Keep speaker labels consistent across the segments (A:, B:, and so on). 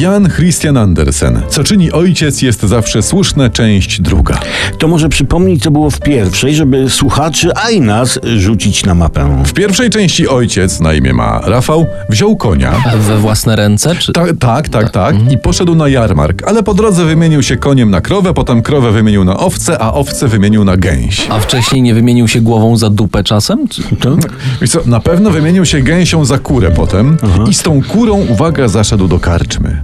A: Jan Christian Andersen. Co czyni ojciec jest zawsze słuszna część druga.
B: To może przypomnij, co było w pierwszej, żeby słuchaczy, a i nas rzucić na mapę.
A: W pierwszej części ojciec, na imię ma Rafał, wziął konia.
C: We własne ręce? Czy...
A: Ta, tak, tak, tak. I poszedł na jarmark, ale po drodze wymienił się koniem na krowę, potem krowę wymienił na owce, a owce wymienił na gęś.
C: A wcześniej nie wymienił się głową za dupę czasem? Czy...
B: To?
A: Wiesz co, na pewno wymienił się gęsią za kurę potem i z tą kurą, uwaga, zaszedł do karczmy.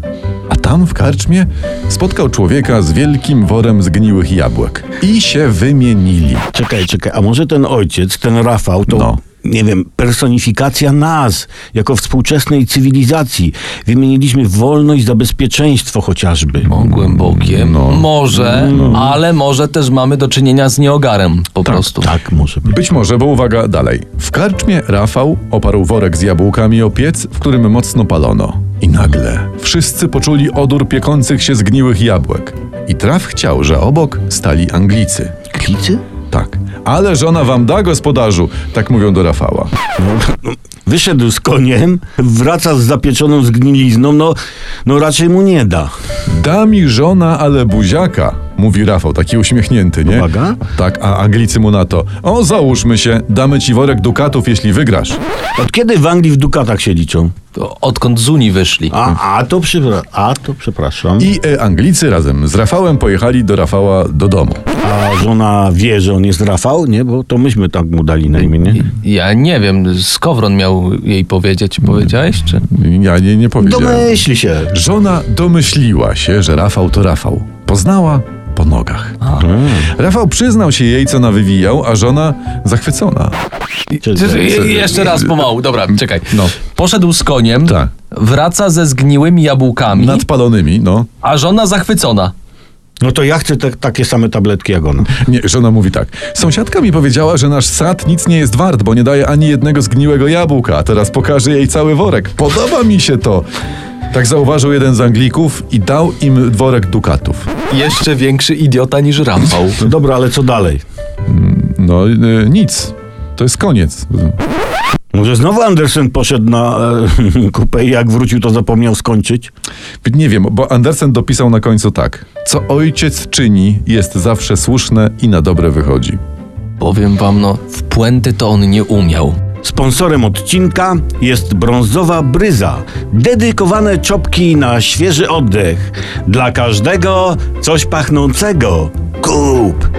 A: A tam w karczmie spotkał człowieka z wielkim worem zgniłych jabłek. I się wymienili.
B: Czekaj, czekaj, a może ten ojciec, ten Rafał, to...
A: No.
B: Nie wiem, personifikacja nas, jako współczesnej cywilizacji. Wymieniliśmy wolność za bezpieczeństwo chociażby.
C: Głębokie.
A: No.
C: Może, ale może też mamy do czynienia z nieogarem po prostu.
B: Tak może być.
A: Być może, bo uwaga, dalej. W karczmie Rafał oparł worek z jabłkami o piec, w którym mocno palono. I nagle wszyscy poczuli odór piekących się zgniłych jabłek. I traf chciał, że obok stali Anglicy.
B: Klicy?
A: Tak. Ale żona wam da, gospodarzu, tak mówią do Rafała.
B: Wyszedł z koniem, wraca z zapieczoną zgnilizną, no, no raczej mu nie da.
A: Da mi żona, ale buziaka, mówi Rafał, taki uśmiechnięty, nie?
B: Uwaga.
A: Tak, a Anglicy mu na to. O, załóżmy się, damy ci worek dukatów, jeśli wygrasz.
B: Od kiedy w Anglii w dukatach się liczą?
C: To Odkąd z Unii wyszli.
B: A, a, to, przypra- a to przepraszam.
A: I e, Anglicy razem z Rafałem pojechali do Rafała do domu.
B: A żona wie, że on jest Rafał, nie? Bo to myśmy tak mu dali na imię, nie?
C: Ja nie wiem, Skowron miał jej powiedzieć. Powiedziałeś? Czy...
A: Ja nie, nie powiedziałem.
B: Domyśli się.
A: Żona domyśliła się, że Rafał to Rafał. Poznała po nogach. Mhm. Rafał przyznał się jej, co nawywijał, a żona zachwycona.
B: Czy-
C: Ty- ty- je- Jeszcze raz pomału, dobra, czekaj.
A: No.
C: Poszedł z koniem,
A: Tak.
C: wraca ze zgniłymi jabłkami,
A: Nadpalonymi, no.
C: a żona zachwycona.
B: No to ja chcę te, takie same tabletki jak ona.
A: Nie, żona mówi tak. Sąsiadka mi powiedziała, że nasz sad nic nie jest wart, bo nie daje ani jednego zgniłego jabłka, a teraz pokaże jej cały worek. Podoba mi się to. Tak zauważył jeden z Anglików i dał im worek dukatów.
C: Jeszcze większy idiota niż Rafał.
B: No dobra, ale co dalej?
A: No, y, nic. To jest koniec.
B: Może znowu Andersen poszedł na e, kupę i jak wrócił, to zapomniał skończyć?
A: Nie wiem, bo Andersen dopisał na końcu tak. Co ojciec czyni, jest zawsze słuszne i na dobre wychodzi.
C: Powiem wam, no, w puenty to on nie umiał.
B: Sponsorem odcinka jest brązowa bryza. Dedykowane czopki na świeży oddech. Dla każdego coś pachnącego. Kup!